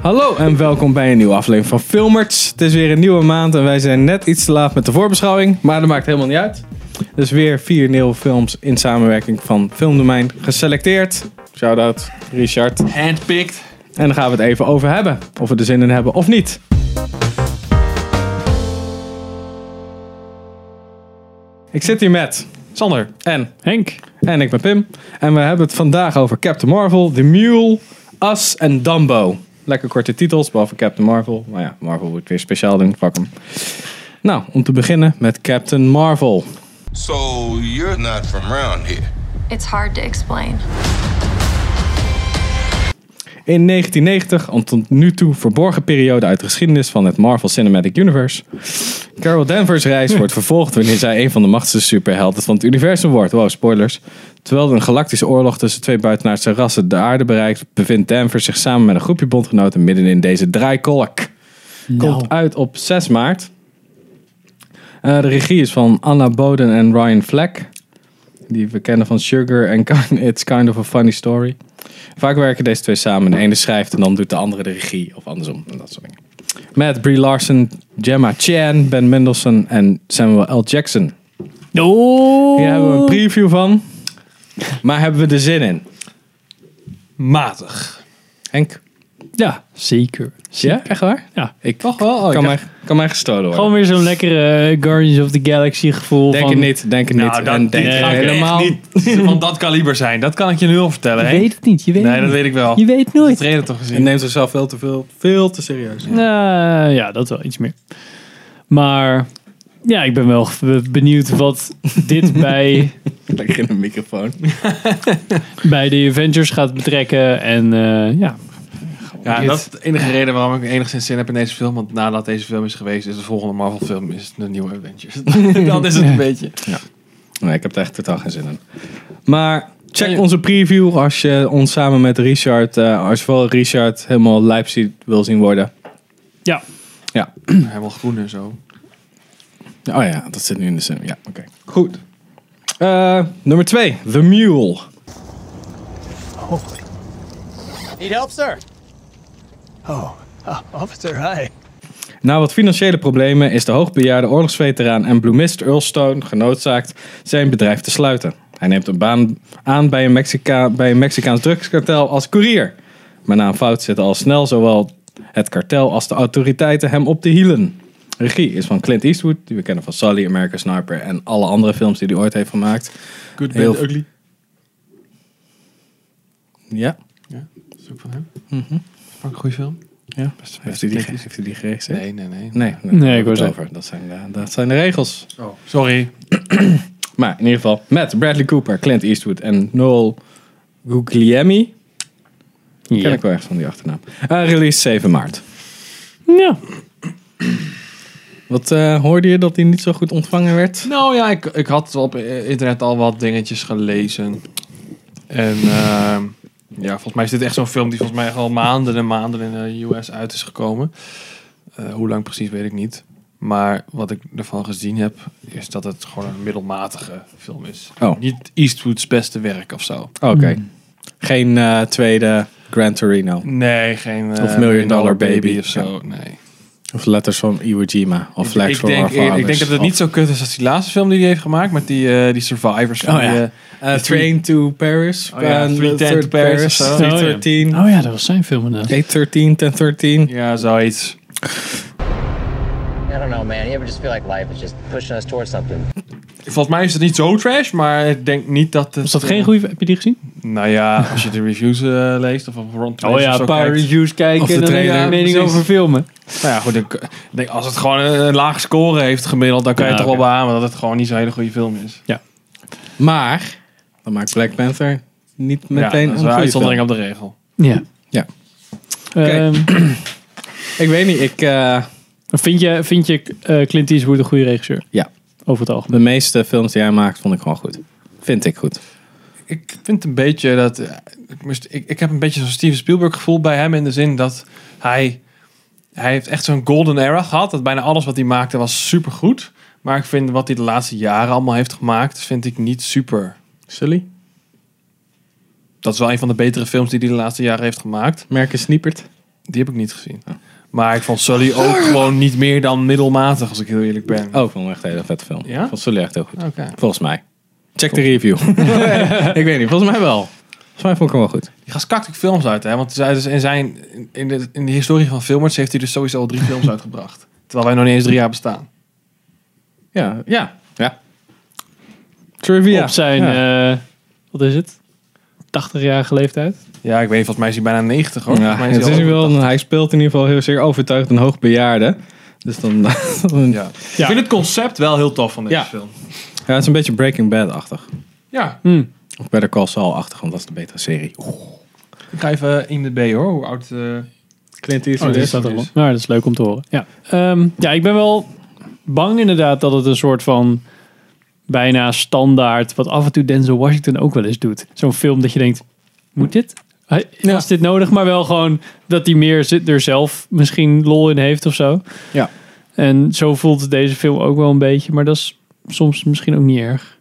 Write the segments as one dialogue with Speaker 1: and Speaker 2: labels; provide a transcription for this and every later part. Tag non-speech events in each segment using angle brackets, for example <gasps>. Speaker 1: Hallo en welkom bij een nieuwe aflevering van Filmerts. Het is weer een nieuwe maand en wij zijn net iets te laat met de voorbeschouwing, maar dat maakt helemaal niet uit. Dus weer vier nieuwe films in samenwerking van Filmdomein geselecteerd. Shout-out Richard.
Speaker 2: Handpicked.
Speaker 1: En daar gaan we het even over hebben. Of we er zin in hebben of niet. Ik zit hier met Sander en
Speaker 3: Henk.
Speaker 1: En ik ben Pim. En we hebben het vandaag over Captain Marvel, The Mule, Us en Dumbo. Lekker korte titels, behalve Captain Marvel. Maar ja, Marvel wordt weer speciaal doen. Fuck hem. Nou, om te beginnen met Captain Marvel.
Speaker 4: So you're not from around here.
Speaker 5: It's hard to explain.
Speaker 1: In 1990, een tot nu toe verborgen periode uit de geschiedenis van het Marvel Cinematic Universe. Carol Danvers reis wordt vervolgd wanneer zij een van de machtigste superhelden van het universum wordt. Wow, spoilers. Terwijl een galactische oorlog tussen twee buitenaardse rassen de aarde bereikt, bevindt Danvers zich samen met een groepje bondgenoten midden in deze draaikolk. Komt uit op 6 maart. Eh, de regie is van Anna Boden en Ryan Fleck. Die we kennen van Sugar en <laughs> It's Kind of a Funny Story. Vaak werken deze twee samen. De ene schrijft en dan doet de andere de regie. Of andersom. En dat soort dingen. Met Brie Larson, Gemma Chan, Ben Mendelsohn en Samuel L. Jackson.
Speaker 3: Oh.
Speaker 1: Hier hebben we een preview van. Maar hebben we er zin in?
Speaker 2: Matig.
Speaker 1: Henk?
Speaker 3: Ja, zeker.
Speaker 1: Ja, echt waar?
Speaker 3: Ja.
Speaker 1: Ik
Speaker 2: Toch wel? Oh, ik
Speaker 1: kan,
Speaker 2: dacht-
Speaker 1: mij, kan mij gestolen worden.
Speaker 3: Gewoon weer zo'n lekkere eh, Guardians of the Galaxy gevoel.
Speaker 1: denk
Speaker 3: van,
Speaker 1: het niet, denk het niet.
Speaker 2: Nou, dat
Speaker 1: en denk
Speaker 2: dit
Speaker 1: het
Speaker 2: kan ik
Speaker 1: helemaal.
Speaker 2: echt niet van dat kaliber zijn. Dat kan ik je nu al vertellen.
Speaker 3: Je
Speaker 2: hè?
Speaker 3: weet het niet. Je weet
Speaker 2: Nee,
Speaker 3: het
Speaker 2: dat
Speaker 3: niet.
Speaker 2: weet ik wel.
Speaker 3: Je weet het nooit.
Speaker 2: Trailer toch
Speaker 1: Je
Speaker 2: gezien.
Speaker 1: neemt zichzelf veel te, veel, veel te serieus.
Speaker 3: Eh, ja, dat wel iets meer. Maar ja, ik ben wel ge- benieuwd wat dit bij,
Speaker 1: <laughs> Lekker in de microfoon.
Speaker 3: bij de Avengers gaat betrekken. En eh, ja,
Speaker 2: Ja, en dat is de enige reden waarom ik enigszins zin heb in deze film. Want nadat deze film is geweest, is de volgende Marvel film is de nieuwe Avengers. <laughs> dat is het een beetje.
Speaker 1: Nee, ik heb er echt totaal geen zin in. Maar check onze preview als je ons samen met Richard, eh, als je vooral Richard helemaal Leipzig wil zien worden.
Speaker 3: ja.
Speaker 2: Helemaal groen en zo.
Speaker 1: Oh ja, dat zit nu in de zin. Ja, oké. Goed. Eh, nummer twee, The Mule.
Speaker 6: Need help, sir? Oh, uh, officer, hi.
Speaker 1: Na wat financiële problemen is de hoogbejaarde oorlogsveteraan en bloemist Earl Stone genoodzaakt zijn bedrijf te sluiten. Hij neemt een baan aan bij een, Mexica, bij een Mexicaans drugskartel als koerier. Maar na een fout zitten al snel zowel het kartel als de autoriteiten hem op de hielen. Regie is van Clint Eastwood, die we kennen van Sully, American Sniper en alle andere films die hij ooit heeft gemaakt.
Speaker 2: Good,
Speaker 1: Heel
Speaker 2: bad, ugly.
Speaker 1: Ja,
Speaker 2: Ja, dat is ook van hem. Vond ik een goede film?
Speaker 1: ja. Heeft, hij die, ge- heeft hij die geregisseerd?
Speaker 2: Nee, nee, nee.
Speaker 1: Nee,
Speaker 3: Nee, ik wou
Speaker 1: was
Speaker 3: zeggen.
Speaker 1: over. Dat zijn, de, dat zijn de regels.
Speaker 2: Oh, sorry.
Speaker 1: Maar in ieder geval met Bradley Cooper, Clint Eastwood en Noel Guglielmi. Ken
Speaker 3: Ja.
Speaker 1: ik wel echt van die achternaam. Eh, release 7 maart.
Speaker 3: ja.
Speaker 1: Wat eh, hoorde je dat die niet zo goed ontvangen werd?
Speaker 2: Nou ja, ik, ik had op eh, internet al wat dingetjes gelezen. En ehm, ja, volgens mij is dit echt zo'n film die volgens mij al maanden en maanden in de US uit is gekomen. Eh, hoe lang precies weet ik niet. Maar wat ik ervan gezien heb, is dat het gewoon een middelmatige film is.
Speaker 1: Oh.
Speaker 2: Niet Eastwood's beste werk of zo.
Speaker 1: Oké.
Speaker 2: Hmm.
Speaker 1: Geen eh, tweede Gran Torino.
Speaker 2: Nee, geen... eh,
Speaker 1: Of Million Dollar Baby.
Speaker 2: of zo. Nee.
Speaker 1: Of letters van Iwo Jima. Of Flags
Speaker 2: ik,
Speaker 1: for
Speaker 2: denk,
Speaker 1: Our Fathers.
Speaker 2: ik denk dat het niet zo kut is als die laatste film die hij heeft gemaakt. Met die, eh, die survivors van
Speaker 1: Oh
Speaker 2: die,
Speaker 1: ja.
Speaker 2: eh,
Speaker 1: Of, eh, Train to Paris.
Speaker 2: Oh ja,
Speaker 1: eh,
Speaker 2: 310 to Paris of zo.
Speaker 1: 313.
Speaker 3: Oh ja, dat was zijn film inderdaad.
Speaker 1: 813, 1013.
Speaker 2: ja, zoiets.
Speaker 6: I don't know, man. You ever just feel like life is just pushing us towards something?
Speaker 2: Volgens mij is het niet zo trash, maar ik denk niet dat het...
Speaker 3: Was dat
Speaker 2: eh,
Speaker 3: geen goede... Heb je die gezien?
Speaker 2: Nou ja, als je de reviews eh, leest of op Rotten Tomatoes
Speaker 3: Oh
Speaker 2: of zo kijkt.
Speaker 3: reviews kijken
Speaker 1: Of de trailer. Precies.
Speaker 3: filmen.
Speaker 2: Nou ja, goed. Ik ik denk, als het gewoon een, een laag score heeft gemiddeld, dan kan je
Speaker 3: Ja,
Speaker 2: toch
Speaker 3: oké.
Speaker 2: wel beamen dat het gewoon niet zo'n hele goede film is.
Speaker 1: Maar, dan maakt Black Panther niet meteen
Speaker 2: ja, dat is
Speaker 1: een
Speaker 2: wel
Speaker 1: goede film.
Speaker 2: uitzondering op de regel.
Speaker 3: Ja.
Speaker 1: Ja.
Speaker 3: Ehm,
Speaker 1: Ik weet niet, ik... eh,
Speaker 3: vind je, vind je eh, Clint Eastwood een goede regisseur?
Speaker 1: ja,
Speaker 3: Over het algemeen.
Speaker 1: de meeste films die hij maakt vond ik gewoon goed. Vind ik goed.
Speaker 2: Ik vind een beetje dat... eh, Ik, moest, ik, ik heb een beetje zo'n Steven Spielberg gevoel bij hem in de zin dat hij... Hij heeft echt zo'n golden era gehad. Dat bijna alles wat hij maakte was supergoed. Maar ik vind wat hij de laatste jaren allemaal heeft gemaakt, vind ik niet super.
Speaker 1: Sully?
Speaker 2: Dat is wel een van de betere films die hij de laatste jaren heeft gemaakt.
Speaker 1: Merken Sniepert?
Speaker 2: Die heb ik niet gezien. Maar ik vond Sully
Speaker 1: <gasps>
Speaker 2: ook gewoon niet meer dan middelmatig, als ik heel eerlijk ben.
Speaker 1: Oh, ik vond hem echt een hele vette film.
Speaker 2: Ja?
Speaker 1: Vond Sully echt heel goed.
Speaker 2: Oké.
Speaker 1: Volgens mij. Check de review. <laughs> ik weet niet, volgens mij wel. Volgens mij vond ik hem wel goed.
Speaker 2: Die gast kakt ook films uit, hè? Want zij- dus in, zijn, in, de, in de historie van filmers heeft hij dus sowieso <laughs> al drie films uitgebracht. Terwijl wij nog niet eens drie jaar bestaan.
Speaker 1: Ja, ja. ja. Trivia.
Speaker 3: Op zijn,
Speaker 1: Ja.
Speaker 3: eh, wat is het? 80-jarige leeftijd.
Speaker 2: Ja, ik weet niet, volgens mij is hij bijna 90 hoor.
Speaker 1: Ja,
Speaker 2: Volgens mij
Speaker 1: het
Speaker 2: hij
Speaker 1: is
Speaker 2: al-
Speaker 1: wel, een- hij speelt in ieder geval heel zeer overtuigd een hoogbejaarde. Dus dan... <laughs> dan- ja.
Speaker 2: Ja. Ik vind het concept wel heel tof van deze
Speaker 1: Ja.
Speaker 2: film.
Speaker 1: het is een beetje Breaking Bad-achtig.
Speaker 2: Ja.
Speaker 1: Of Better Call Saul-achtig, want dat is de betere serie.
Speaker 2: Ik ga even IMDb hoor, hoe oud... eh,
Speaker 1: Clint
Speaker 2: Oh,
Speaker 1: Eastwood
Speaker 2: die
Speaker 1: is dus
Speaker 2: staat
Speaker 1: dat
Speaker 2: er
Speaker 1: al.
Speaker 2: al.
Speaker 3: Maar Nou, dat is leuk om te horen. Ja. Ehm, ja, ik ben wel bang inderdaad dat het een soort van bijna standaard, wat af en toe Denzel Washington ook wel eens doet. Zo'n film dat je denkt, moet dit? Hij-
Speaker 1: Ja.
Speaker 3: Was dit nodig? Maar wel gewoon dat hij meer zit- er zelf misschien lol in heeft of zo.
Speaker 1: Ja.
Speaker 3: En zo voelt deze film ook wel een beetje, maar dat is soms misschien ook niet erg.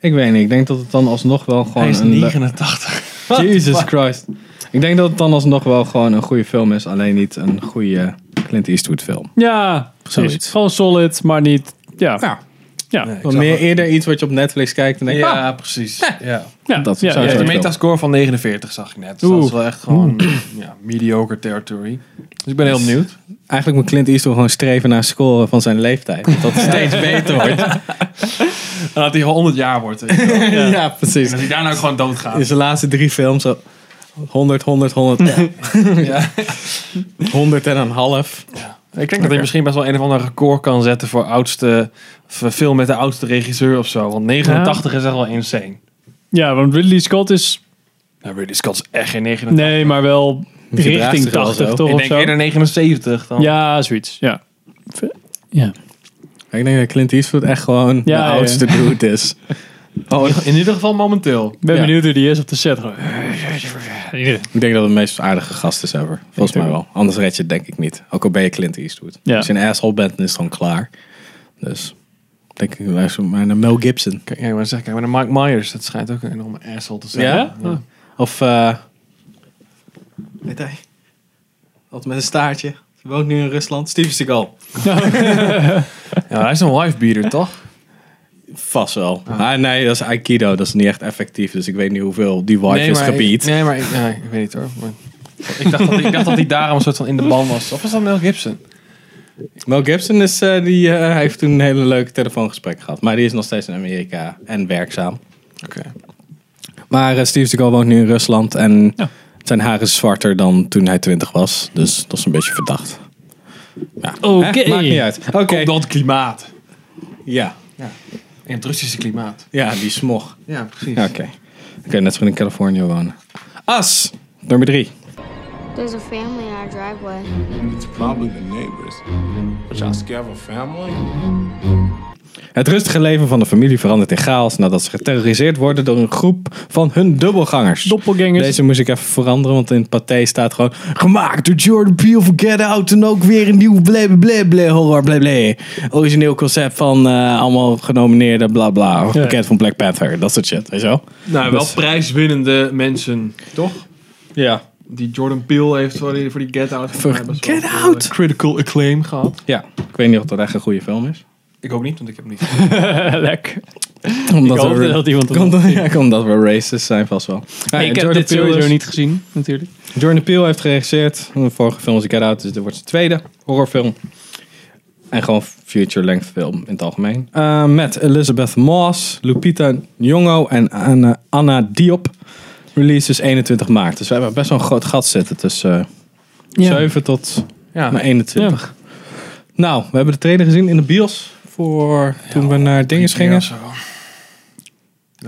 Speaker 1: Ik weet niet, ik denk dat het dan alsnog wel gewoon...
Speaker 2: hij is
Speaker 1: een le-
Speaker 2: 89.
Speaker 1: Jesus Christ. Ik denk dat het dan alsnog wel gewoon een goede film is, alleen niet een goede Clint Eastwood film.
Speaker 3: Ja,
Speaker 1: Zoiets.
Speaker 3: precies. Gewoon solid, maar niet... Ja, ja.
Speaker 1: Ja,
Speaker 3: ja.
Speaker 2: Nee, ik
Speaker 1: wel
Speaker 2: zag
Speaker 1: meer
Speaker 2: het.
Speaker 1: eerder iets wat je op Netflix kijkt en denkt, ah,
Speaker 2: Ja, precies. Ja.
Speaker 1: Dat
Speaker 3: ja,
Speaker 1: zou
Speaker 2: Ja,
Speaker 3: ja,
Speaker 2: de
Speaker 1: zijn.
Speaker 3: ja.
Speaker 2: metascore van 49 zag ik net. Dus dat
Speaker 3: Oeh.
Speaker 2: is wel echt gewoon ja, mediocre territory. Dus ik ben heel benieuwd.
Speaker 1: Eigenlijk moet Clint Eastwood gewoon streven naar scoren van zijn leeftijd. <laughs> Dat het steeds beter wordt.
Speaker 2: En dat hij gewoon 100 jaar wordt. weet je wel. En
Speaker 1: Ja, precies.
Speaker 2: dat hij daarna ook gewoon
Speaker 1: In
Speaker 2: doodgaat.
Speaker 1: zijn laatste drie films zo 100, 100, 100, <laughs>
Speaker 2: Ja.
Speaker 1: 100 en een half.
Speaker 2: Ik denk dat hij misschien best wel een of ander record kan zetten voor oudste voor film met de oudste regisseur of zo. Want 89 is echt wel insane.
Speaker 3: ja, want Ridley Scott is
Speaker 2: Nou, Ridley Scott is echt geen 89.
Speaker 3: Nee, maar wel
Speaker 1: Die gedraagt
Speaker 3: richting
Speaker 1: zich wel
Speaker 3: 80
Speaker 1: zo.
Speaker 3: toch
Speaker 2: Ik
Speaker 3: of
Speaker 2: denk
Speaker 3: zo?
Speaker 2: eerder 79 dan.
Speaker 3: Ja, zoiets. Ja. Ja.
Speaker 1: Ik denk dat Clint Eastwood echt gewoon
Speaker 3: Ja,
Speaker 1: de
Speaker 3: ja.
Speaker 1: oudste dude is. Oh,
Speaker 2: In ieder geval momenteel.
Speaker 3: Ik ben
Speaker 1: Ja.
Speaker 3: benieuwd hoe die is op de set. gewoon.
Speaker 1: ik denk dat het de meest aardige gast is ever. Volgens mij
Speaker 3: het
Speaker 1: wel. Anders red je het denk ik niet. Ook al ben je Clint Eastwood.
Speaker 3: Ja.
Speaker 1: Als je een asshole bent, dan is het gewoon klaar. Dus denk ik, luister maar naar Mel Gibson.
Speaker 2: Kijk, ja, maar zeg, kijk maar naar Mike Myers. Dat schijnt ook een enorme asshole te zijn.
Speaker 1: Ja? Of, eh weet hij? Altijd met een staartje. Ze woont nu in Rusland. Steven Seagal.
Speaker 2: Ja, hij is een wifebeater, toch?
Speaker 1: Vast wel. Ah, nee, dat is Aikido. Dat is niet echt effectief. Dus ik weet niet hoeveel die wife is
Speaker 2: maar ik-
Speaker 1: gebied.
Speaker 2: nee, maar ik, nee, ik weet niet hoor. Maar- ik, dacht dat, ik dacht dat hij daarom een soort van in de ban was. Of was dat Mel Gibson?
Speaker 1: Mel Gibson is, eh, die, eh, hij heeft toen een hele leuke telefoongesprek gehad. Maar die is nog steeds in Amerika en werkzaam.
Speaker 2: Oké.
Speaker 1: Maar eh, Steve Seagal woont nu in Rusland. En
Speaker 3: Ja.
Speaker 1: zijn haar is zwarter dan toen hij 20 was. Dus dat is een beetje verdacht.
Speaker 3: Oké.
Speaker 1: Hè? Maakt niet uit. Oké.
Speaker 2: Komt door het klimaat.
Speaker 1: Ja.
Speaker 2: In het Russische klimaat.
Speaker 1: ja, die smog.
Speaker 2: Ja, precies.
Speaker 1: Ja, Oké. Oké, net zo in Californië wonen. As, nummer drie.
Speaker 7: There's a family in our driveway.
Speaker 8: It's probably the neighbors. But y'all scared of a family?
Speaker 1: Het rustige leven van de familie verandert in chaos nadat ze geterroriseerd worden door een groep van hun dubbelgangers.
Speaker 3: Doppelgangers.
Speaker 1: Deze moest ik even veranderen, want in het paté staat gewoon gemaakt door Jordan Peele voor Get Out en ook weer een nieuw blablabla horror blablabla. Origineel concept van eh, allemaal genomineerden bla bla. Of
Speaker 3: Ja.
Speaker 1: Bekend van Black Panther, dat soort shit, weet je wel?
Speaker 2: Nou, wel prijswinnende mensen, toch?
Speaker 1: Ja.
Speaker 2: Die Jordan Peele heeft voor die, voor die Get Out.
Speaker 1: Voor
Speaker 2: volgens mij best wel
Speaker 1: Get
Speaker 2: veel, eh,
Speaker 1: Out.
Speaker 2: critical acclaim gehad.
Speaker 1: Ja, ik weet niet of dat echt een goede film is.
Speaker 2: Ik ook niet, want ik heb hem niet
Speaker 3: <laughs> Lekker.
Speaker 1: Omdat
Speaker 3: hoopte dat
Speaker 1: <laughs>
Speaker 3: iemand dat
Speaker 1: Omdat- ja, omdat we racist zijn vast wel. Ja, en
Speaker 3: ik heb
Speaker 1: Jordan
Speaker 3: dit
Speaker 1: Peele
Speaker 3: sowieso
Speaker 1: is-
Speaker 3: niet gezien, natuurlijk.
Speaker 1: Jordan Peele heeft geregisseerd. De vorige film is Get Out, dus dit wordt zijn tweede horrorfilm. En gewoon feature-length film in het algemeen. Eh, met Elizabeth Moss, Lupita Nyong'o en Anna, Anna Diop. Release is 21 maart. Dus we hebben best wel een groot gat zitten tussen eh, 7 tot
Speaker 2: Ah, Ja.
Speaker 1: naar 21. Nou, we hebben de trailer gezien in de bios. Voor toen we naar dingen
Speaker 2: Ja,
Speaker 1: gingen.
Speaker 2: zo.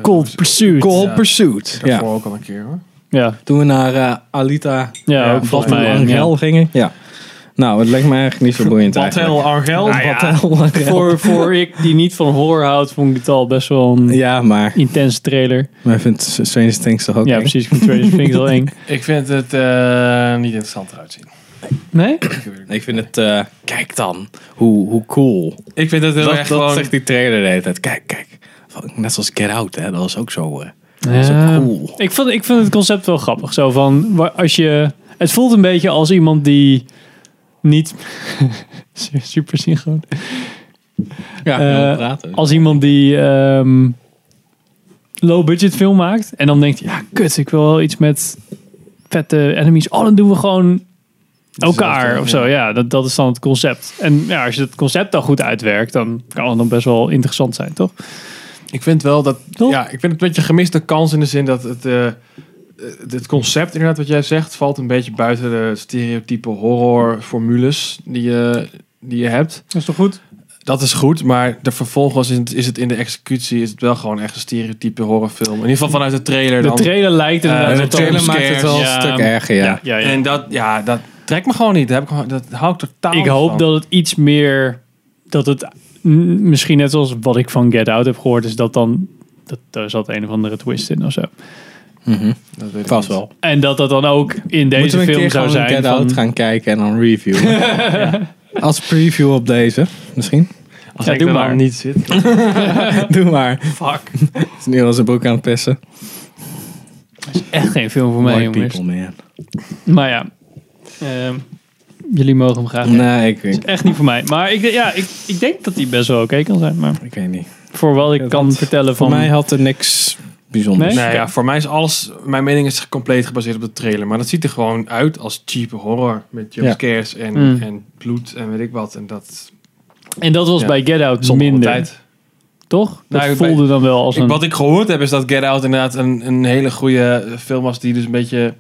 Speaker 3: Cold Pursuit.
Speaker 1: Cold Pursuit.
Speaker 2: Daarvoor
Speaker 1: Ja.
Speaker 2: ook al een keer hoor.
Speaker 3: Ja,
Speaker 1: Toen we naar eh, Alita eh,
Speaker 3: ja,
Speaker 2: Ja,
Speaker 3: ook volgens
Speaker 1: Battle
Speaker 3: mij.
Speaker 1: Angel
Speaker 3: Ja.
Speaker 1: gingen. Ja. Nou, het lijkt me eigenlijk niet <laughs> zo boeiend eigenlijk.
Speaker 2: Batel Argel.
Speaker 3: Nou ja,
Speaker 1: Batel <laughs> Angel.
Speaker 3: Voor, voor ik die niet van horror houdt, vond ik dit al best wel een
Speaker 1: Ja, maar.
Speaker 3: intense trailer.
Speaker 1: Maar vindt Stranger Things toch ook
Speaker 3: Ja,
Speaker 1: eng?
Speaker 3: precies. Ik vind Stranger Things al eng.
Speaker 2: Ik vind het eh, niet interessant eruit zien.
Speaker 3: <laughs> Nee?
Speaker 1: Ik vind het... eh, kijk dan, hoe, hoe cool.
Speaker 2: Ik vind het heel
Speaker 1: Dat,
Speaker 2: erg
Speaker 1: dat
Speaker 2: gewoon...
Speaker 1: zegt die trailer de hele tijd. Kijk, kijk. Net zoals Get Out, hè. Dat was ook zo... eh,
Speaker 3: Ja.
Speaker 1: cool.
Speaker 3: Ik, vond, ik vind het concept wel grappig. Zo van, wa- als je Het voelt een beetje als iemand die niet <laughs> super synchroon.
Speaker 1: Ja,
Speaker 3: Eh,
Speaker 1: heel praten.
Speaker 3: Als iemand die ehm, low budget film maakt en dan denkt, ja, kut, ik wil wel iets met vette enemies. Oh, dan doen we gewoon elkaar
Speaker 2: Hetzelfde,
Speaker 3: of zo. Ja, dat, dat is dan het concept. En ja, als je het concept dan goed uitwerkt, dan kan het dan best wel interessant zijn, toch?
Speaker 2: Ik vind wel dat.
Speaker 3: Toch?
Speaker 2: Ja, ik vind het een beetje gemiste kans in de zin dat het. eh, eh, het concept, inderdaad, wat jij zegt, valt een beetje buiten de stereotype horrorformules die je, die je hebt.
Speaker 3: Dat is toch goed?
Speaker 2: Dat is goed, maar de vervolgens is het, is het in de executie is het wel gewoon echt een stereotype horrorfilm. In ieder geval vanuit de trailer
Speaker 3: De
Speaker 2: dan.
Speaker 3: trailer lijkt inderdaad
Speaker 2: Eh,
Speaker 3: wel
Speaker 1: de trailer
Speaker 3: toch-
Speaker 1: maakt het wel
Speaker 3: Ja.
Speaker 1: een stuk erger, ja.
Speaker 3: Ja, ja, ja.
Speaker 2: En dat, ja, dat trekt me gewoon niet. Daar heb ik, gewoon- dat hou ik totaal
Speaker 3: Ik
Speaker 2: niet
Speaker 3: hoop
Speaker 2: van.
Speaker 3: dat het iets meer. Dat het mm, misschien net zoals wat ik van Get Out heb gehoord, is dat dan. Dat, daar zat een of andere twist in of zo.
Speaker 2: Dat weet ik
Speaker 1: Vast
Speaker 2: niet.
Speaker 1: wel.
Speaker 3: En dat dat dan ook in deze
Speaker 1: Moeten we een
Speaker 3: film
Speaker 1: keer
Speaker 3: zou
Speaker 1: gewoon
Speaker 3: zijn.
Speaker 1: Get
Speaker 3: van,
Speaker 1: Out gaan kijken en dan reviewen?
Speaker 3: <laughs>
Speaker 1: Ja. Als preview op deze, misschien.
Speaker 2: Als
Speaker 3: Ja,
Speaker 2: ik
Speaker 3: doe
Speaker 2: er dan
Speaker 3: maar.
Speaker 2: niet zit.
Speaker 1: Doe maar.
Speaker 3: Fuck.
Speaker 1: Het is nu al zijn broek aan het pissen.
Speaker 3: Echt geen film voor mij,
Speaker 1: White
Speaker 3: jongens.
Speaker 1: people, man.
Speaker 3: Maar ja. ehm, jullie mogen hem graag. Het
Speaker 1: Nee, ik,
Speaker 3: is
Speaker 1: ik,
Speaker 3: Echt niet voor mij. Maar ik, ja, ik, ik denk dat die best wel oké kan zijn. Maar
Speaker 1: ik weet niet.
Speaker 3: voor wat ik kan vertellen
Speaker 1: Voor
Speaker 3: van.
Speaker 1: mij had er niks bijzonders.
Speaker 3: Nee?
Speaker 2: Nou ja, voor mij is alles, mijn mening is compleet gebaseerd op de trailer. Maar dat ziet er gewoon uit als cheap horror. Met jumpscares en,
Speaker 3: Mm.
Speaker 2: en bloed en weet ik wat. En dat
Speaker 3: En dat was
Speaker 2: Ja.
Speaker 3: bij Get Out
Speaker 2: zonder
Speaker 3: minder.
Speaker 2: tijd.
Speaker 3: Toch? Dat
Speaker 2: Nou, ik-
Speaker 3: voelde dan wel als
Speaker 2: Ik,
Speaker 3: een.
Speaker 2: wat ik gehoord heb is dat Get Out inderdaad een, een hele goede eh, film was. Die dus een beetje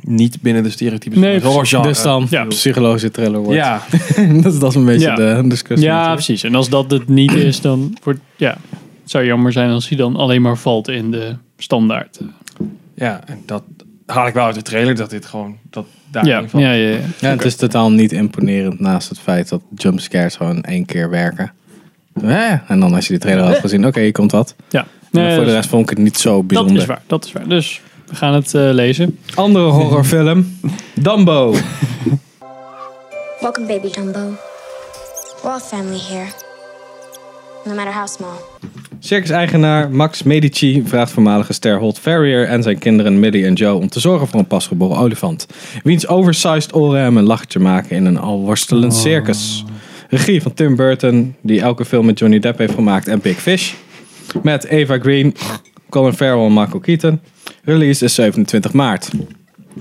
Speaker 2: niet binnen de stereotypes
Speaker 3: Nee,
Speaker 2: van het horrorgenre.
Speaker 1: Dus dan
Speaker 3: Ja.
Speaker 1: psychologische thriller wordt.
Speaker 2: Ja,
Speaker 1: <laughs> dat, is, dat is een beetje
Speaker 3: Ja.
Speaker 1: de discussie.
Speaker 3: Ja,
Speaker 1: natuurlijk.
Speaker 3: precies. En als dat het niet is, dan wordt ja, het zou jammer zijn als hij dan alleen maar valt in de standaard.
Speaker 2: <laughs> ja, en dat haal ik wel uit de trailer. Dat dit gewoon, dat daar
Speaker 3: Ja, ja, ja, ja.
Speaker 1: Ja, het is totaal niet imponerend naast het feit dat jumpscares gewoon één keer werken. Hè? En dan als je de trailer had gezien, oké, hier komt wat.
Speaker 3: ja.
Speaker 1: Maar
Speaker 3: Nee,
Speaker 1: voor de
Speaker 3: dat,
Speaker 1: rest vond ik het niet zo
Speaker 3: dat
Speaker 1: bijzonder.
Speaker 3: is waar. Dat is waar. Dus we gaan het eh, lezen.
Speaker 1: Andere <laughs> horrorfilm, Dumbo.
Speaker 7: Welcome, baby Dumbo. We're all family here, no matter how small.
Speaker 1: Circus-eigenaar Max Medici vraagt voormalige ster Holt Ferrier en zijn kinderen Millie en Joe om te zorgen voor een pasgeboren olifant. Wiens oversized oren hem een lachertje maken in een al worstelend circus. Regie van Tim Burton, die elke film met Johnny Depp heeft gemaakt en Big Fish. Met Eva Green, Colin Farrell en Michael Keaton. Release is 27 maart.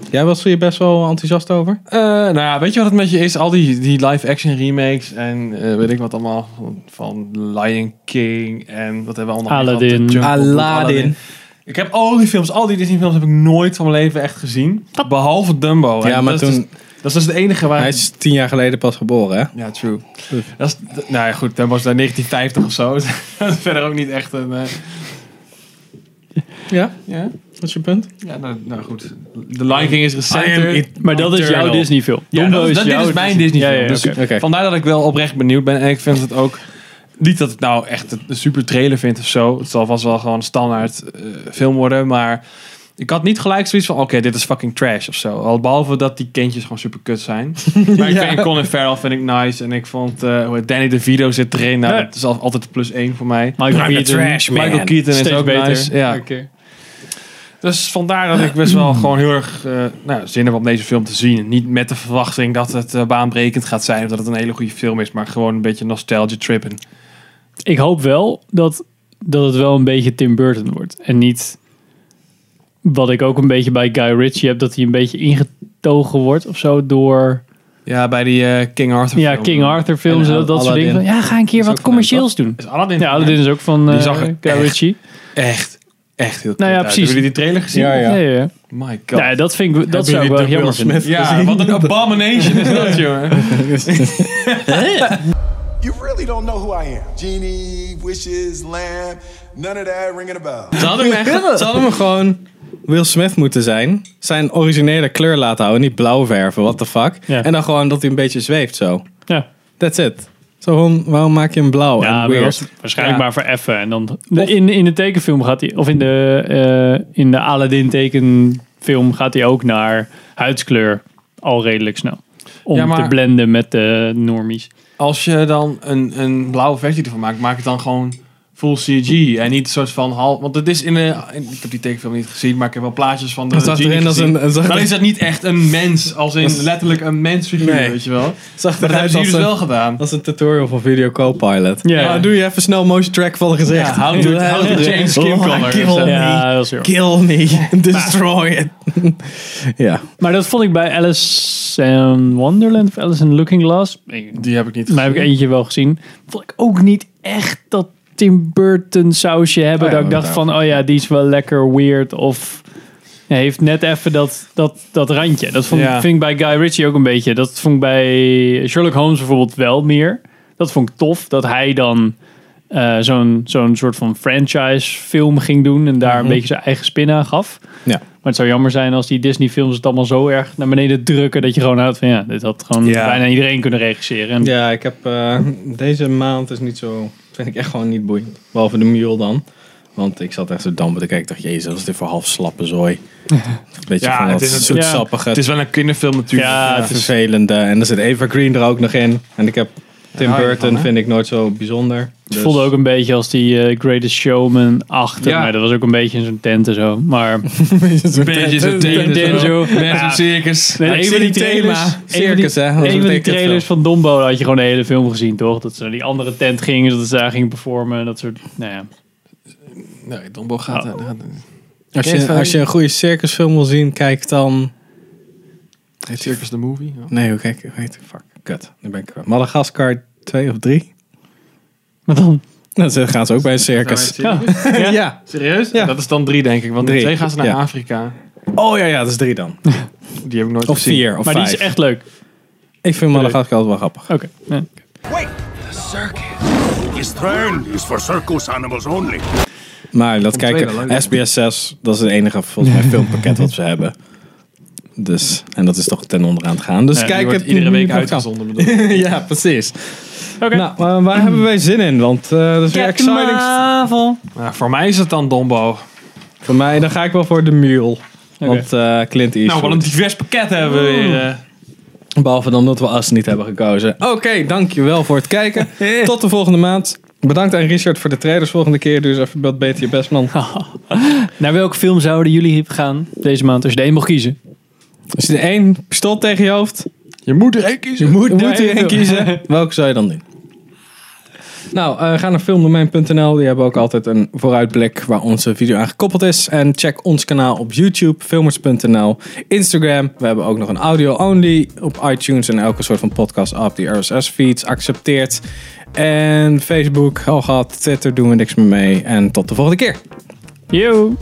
Speaker 1: Jij was hier best wel enthousiast over?
Speaker 2: Eh, nou ja, weet je wat het met je is? Al die, die live-action remakes en eh, weet ik wat allemaal. Van, van Lion King en wat hebben we allemaal.
Speaker 3: Aladdin.
Speaker 2: gehad? De Jungle Book,
Speaker 1: Aladdin.
Speaker 2: Ik heb al die films, al die Disney films heb ik nooit van mijn leven echt gezien. Behalve Dumbo. En
Speaker 1: Ja, maar
Speaker 2: dat Is
Speaker 1: toen-
Speaker 2: dus, dat is dus de enige waar...
Speaker 1: Hij is tien jaar geleden pas geboren, hè?
Speaker 2: Ja, true. Dat is, d- nou ja, goed. Dumbo is daar 1950 of zo. <laughs> dat is verder ook niet echt een... eh,
Speaker 1: Ja,
Speaker 2: ja,
Speaker 1: dat is je punt.
Speaker 2: ja nou, nou goed. The Lion King is recenter.
Speaker 3: Maar dat is jouw Disney film.
Speaker 2: Ja, dat, is, dat dit is mijn Disney film.
Speaker 3: Ja, ja,
Speaker 2: dus
Speaker 3: oké.
Speaker 1: Oké.
Speaker 2: Vandaar dat ik wel oprecht benieuwd ben. En ik vind het ook niet dat ik nou echt een super trailer vind of zo. Het zal vast wel gewoon een standaard eh, film worden. Maar ik had niet gelijk zoiets van: oké, dit is fucking trash of zo. Al behalve dat die kindjes gewoon super kut
Speaker 3: <laughs>
Speaker 2: zijn. maar ik vind Colin Farrell vind ik nice. En ik vond eh, hoe heet Danny DeVito zit erin. Nou,
Speaker 3: Ja.
Speaker 2: dat is al- altijd de plus één voor mij.
Speaker 3: Michael
Speaker 1: I'm a
Speaker 3: Keaton.
Speaker 1: trash man.
Speaker 2: Michael Keaton is
Speaker 3: Steeds
Speaker 2: ook
Speaker 3: beter.
Speaker 2: nice. Ja.
Speaker 3: Elke keer.
Speaker 2: Dus vandaar dat ik best wel gewoon heel erg eh, nou, zin heb om deze film te zien. Niet met de verwachting dat het eh, baanbrekend gaat zijn of dat het een hele goede film is, maar gewoon een beetje nostalgia trippen.
Speaker 3: Ik hoop wel dat, dat het wel een beetje Tim Burton wordt. En niet wat ik ook een beetje bij Guy Ritchie heb, dat hij een beetje ingetogen wordt of zo door...
Speaker 2: Ja, bij die eh, King Arthur
Speaker 3: Ja,
Speaker 2: film.
Speaker 3: King Arthur films
Speaker 1: En
Speaker 3: en dat, dat soort
Speaker 1: Aladdin.
Speaker 3: dingen. Ja, ga een keer
Speaker 1: Is
Speaker 3: wat
Speaker 1: ook van hem,
Speaker 3: commercieels doen.
Speaker 2: Is Aladdin.
Speaker 3: Ja, Aladdin is ook van eh
Speaker 2: Die zag er
Speaker 3: Guy
Speaker 2: echt
Speaker 3: Ritchie. Nou
Speaker 2: Echt, echt heel kut
Speaker 1: Nou
Speaker 3: ja,
Speaker 2: uit.
Speaker 3: precies.
Speaker 2: Hebben jullie die trailer gezien?
Speaker 1: Ja,
Speaker 3: Ja, ja, ja.
Speaker 2: Oh My god.
Speaker 3: Ja, dat, vind ik, dat zou ik
Speaker 1: jullie
Speaker 3: wel
Speaker 1: de
Speaker 3: jammer
Speaker 1: Will
Speaker 3: vinden.
Speaker 1: Smith
Speaker 2: Ja, wat <laughs> een abomination is
Speaker 3: <laughs>
Speaker 2: dat, jongen.
Speaker 9: You really don't know who I am. Genie, wishes, lamb, none of that ringing a bell.
Speaker 1: Ze hadden, hem echt- ze hadden hem gewoon Will Smith moeten zijn. Zijn originele kleur laten houden. Niet blauw verven, what the fuck.
Speaker 3: Ja.
Speaker 1: En dan gewoon dat hij een beetje zweeft zo.
Speaker 3: Ja,
Speaker 1: That's it. Zo gewoon, waarom maak je hem blauw
Speaker 3: ja
Speaker 1: en
Speaker 3: maar
Speaker 1: weird?
Speaker 3: was waarschijnlijk
Speaker 2: Ja.
Speaker 3: maar voor effen. En dan, in, in de tekenfilm gaat hij, of in de, eh, in de Aladdin tekenfilm gaat hij ook naar huidskleur al redelijk snel. Om
Speaker 2: Ja, maar-
Speaker 3: te blenden met de normies.
Speaker 2: Als je dan een, een blauwe versie ervan maakt, maak het dan gewoon full CG. En niet een soort van half... Want het is in een... in- ik heb die tekenfilm niet gezien, maar ik heb wel plaatjes van de
Speaker 1: Het zag
Speaker 2: genie
Speaker 1: erin als
Speaker 2: gezien.
Speaker 1: een- het zag
Speaker 2: Dan
Speaker 1: er-
Speaker 2: is het niet echt een mens, als in letterlijk een mensfiguur,
Speaker 1: Nee.
Speaker 2: weet je wel.
Speaker 1: <laughs> Zag
Speaker 2: Maar dat hebben
Speaker 1: eruit
Speaker 2: ze hier
Speaker 1: als
Speaker 2: dus
Speaker 1: een,
Speaker 2: wel gedaan.
Speaker 1: als een tutorial van Video Copilot.
Speaker 3: Ja.
Speaker 1: Nou, doe je even snel motion track van het gezicht.
Speaker 2: Ja, how to- how to change skin color.
Speaker 1: <laughs> Kill me.
Speaker 3: Ja, dat is heel
Speaker 1: Kill me. <laughs> Destroy it. <laughs> ja.
Speaker 3: Maar dat vond ik bij Alice in Wonderland of Alice in Looking Glass.
Speaker 2: Die heb ik niet
Speaker 3: Maar heb ik
Speaker 2: gezien.
Speaker 3: eentje wel gezien. Vond ik ook niet echt dat Tim Burton sausje hebben.
Speaker 1: Oh ja,
Speaker 3: dat ik dacht van, oh ja, die is wel lekker weird. Of hij heeft net even dat, dat, dat randje. Dat vond,
Speaker 2: Ja.
Speaker 3: vind ik bij Guy Ritchie ook een beetje. Dat vond ik bij Sherlock Holmes bijvoorbeeld wel meer. Dat vond ik tof. Dat hij dan eh, zo'n zo'n soort van franchise film ging doen. En daar een beetje zijn eigen spin aan gaf.
Speaker 1: Mhm. ja.
Speaker 3: Maar het zou jammer zijn als die Disney-films het allemaal zo erg naar beneden drukken. dat je gewoon houdt van ja, dit had gewoon
Speaker 1: Ja.
Speaker 3: bijna iedereen kunnen regisseren. En
Speaker 1: Ja, ik heb eh, deze maand is niet zo. Vind ik echt gewoon niet boeiend. Behalve de mule dan. Want ik zat echt zo dom te kijken. Ik dacht, jezus, wat is dit voor half slappe
Speaker 2: <laughs>
Speaker 1: zooi? Beetje
Speaker 2: Ja,
Speaker 1: van dat
Speaker 2: het is natuurlijk-
Speaker 1: zoetsappige,
Speaker 2: Het is wel een kinderfilm natuurlijk.
Speaker 3: Ja,
Speaker 1: het vervelende. En er zit Evergreen er ook nog in. En ik heb Tim
Speaker 2: Ja, hou je
Speaker 1: Burton,
Speaker 2: van, hè?
Speaker 1: vind ik nooit zo bijzonder. Dus
Speaker 3: het voelde
Speaker 2: <laughs>
Speaker 3: ook een beetje als die eh, Greatest Showman achter.
Speaker 2: Ja.
Speaker 3: Maar dat was ook een beetje in zo'n tent en zo. <laughs> Maar
Speaker 1: een
Speaker 2: Beetje zo'n
Speaker 3: Tent
Speaker 2: thema.
Speaker 3: zo.
Speaker 2: Mensen
Speaker 3: Ja.
Speaker 2: circus.
Speaker 3: Nee,
Speaker 1: ik zie die thema. Circus, hè?
Speaker 3: hè?
Speaker 1: Dat
Speaker 3: Een van die
Speaker 1: betekent
Speaker 3: trailers van Dombo had je gewoon de hele film gezien, toch? Dat ze naar die andere tent gingen, dat ze daar gingen performen. en Dat soort, nou ja.
Speaker 2: Nee, Dombo gaat...
Speaker 3: Oh.
Speaker 2: gaat-
Speaker 1: Als je, als je een goede circusfilm wil zien, kijk dan.
Speaker 2: Circus the Movie. ja.
Speaker 1: Nee, hoe kijk hoe heet het? Fuck. Kut. Nu ben ik kwijt. Madagaskar 2 of <laughs> 3.
Speaker 3: Maar dan...
Speaker 1: Dat gaan ze ook bij een circus.
Speaker 2: Ja.
Speaker 1: <laughs> ja.
Speaker 2: Serieus?
Speaker 1: Ja.
Speaker 2: Dat is dan drie, denk ik. Want
Speaker 1: Drie,
Speaker 2: in twee gaan ze naar
Speaker 1: ja.
Speaker 2: Afrika.
Speaker 1: Oh ja, ja, dat is drie dan.
Speaker 2: Die heb ik nooit
Speaker 1: Of
Speaker 2: gezien.
Speaker 1: vier, of
Speaker 3: Maar die
Speaker 1: vijf.
Speaker 3: is echt leuk.
Speaker 1: Ik vind Madagaskar altijd wel grappig.
Speaker 3: Oké. ja.
Speaker 10: This throne is for circus animals only.
Speaker 1: Maar laat
Speaker 2: tweede,
Speaker 1: kijken,
Speaker 2: leuk.
Speaker 1: SBS 6, dat is het enige volgens
Speaker 2: <laughs>
Speaker 1: mij filmpakket wat ze hebben. Dus, en dat is toch ten onder aan het gaan. Dus
Speaker 3: Ja, die
Speaker 1: kijk
Speaker 2: Die
Speaker 1: het
Speaker 2: wordt iedere
Speaker 1: nu <laughs>
Speaker 2: week
Speaker 1: nog
Speaker 2: uitgezonden. bedoel ik.
Speaker 1: af. ja, precies.
Speaker 3: <laughs> Oké.
Speaker 1: Nou, eh, waar hebben wij zin in? Want eh, dat is weer exciting.
Speaker 3: Marvel.
Speaker 2: Nou, voor mij is het dan Dombo.
Speaker 1: Voor mij, dan ga ik wel voor de mule. Mm. Want eh, Clint
Speaker 2: Nou,
Speaker 1: Eastwood.
Speaker 2: wat een divers pakket hebben we weer. eh.
Speaker 1: Behalve dan dat we As niet hebben gekozen. Oké, dankjewel voor het
Speaker 2: <laughs>
Speaker 1: kijken. Tot de volgende maand. Bedankt aan Richard voor de trailers volgende keer. Dus even wat beter je best, man.
Speaker 3: Naar welke film zouden jullie gaan deze maand als je er één mocht kiezen?
Speaker 1: Als je er één pistool tegen je hoofd
Speaker 2: Je moet er één kiezen.
Speaker 1: Je moet,
Speaker 3: er
Speaker 1: er
Speaker 3: één
Speaker 1: één kiezen. <laughs> Welke zou je dan doen? Nou, eh, ga naar filmdomein.nl. Die hebben ook altijd een vooruitblik waar onze video aan gekoppeld is. En check ons kanaal op YouTube, filmers.nl, Instagram. We hebben ook nog een audio-only op iTunes en elke soort van podcast app die RSS-feeds accepteert. oh En Facebook, al gehad, Twitter doen we niks meer mee. En tot de volgende keer.
Speaker 3: Yo!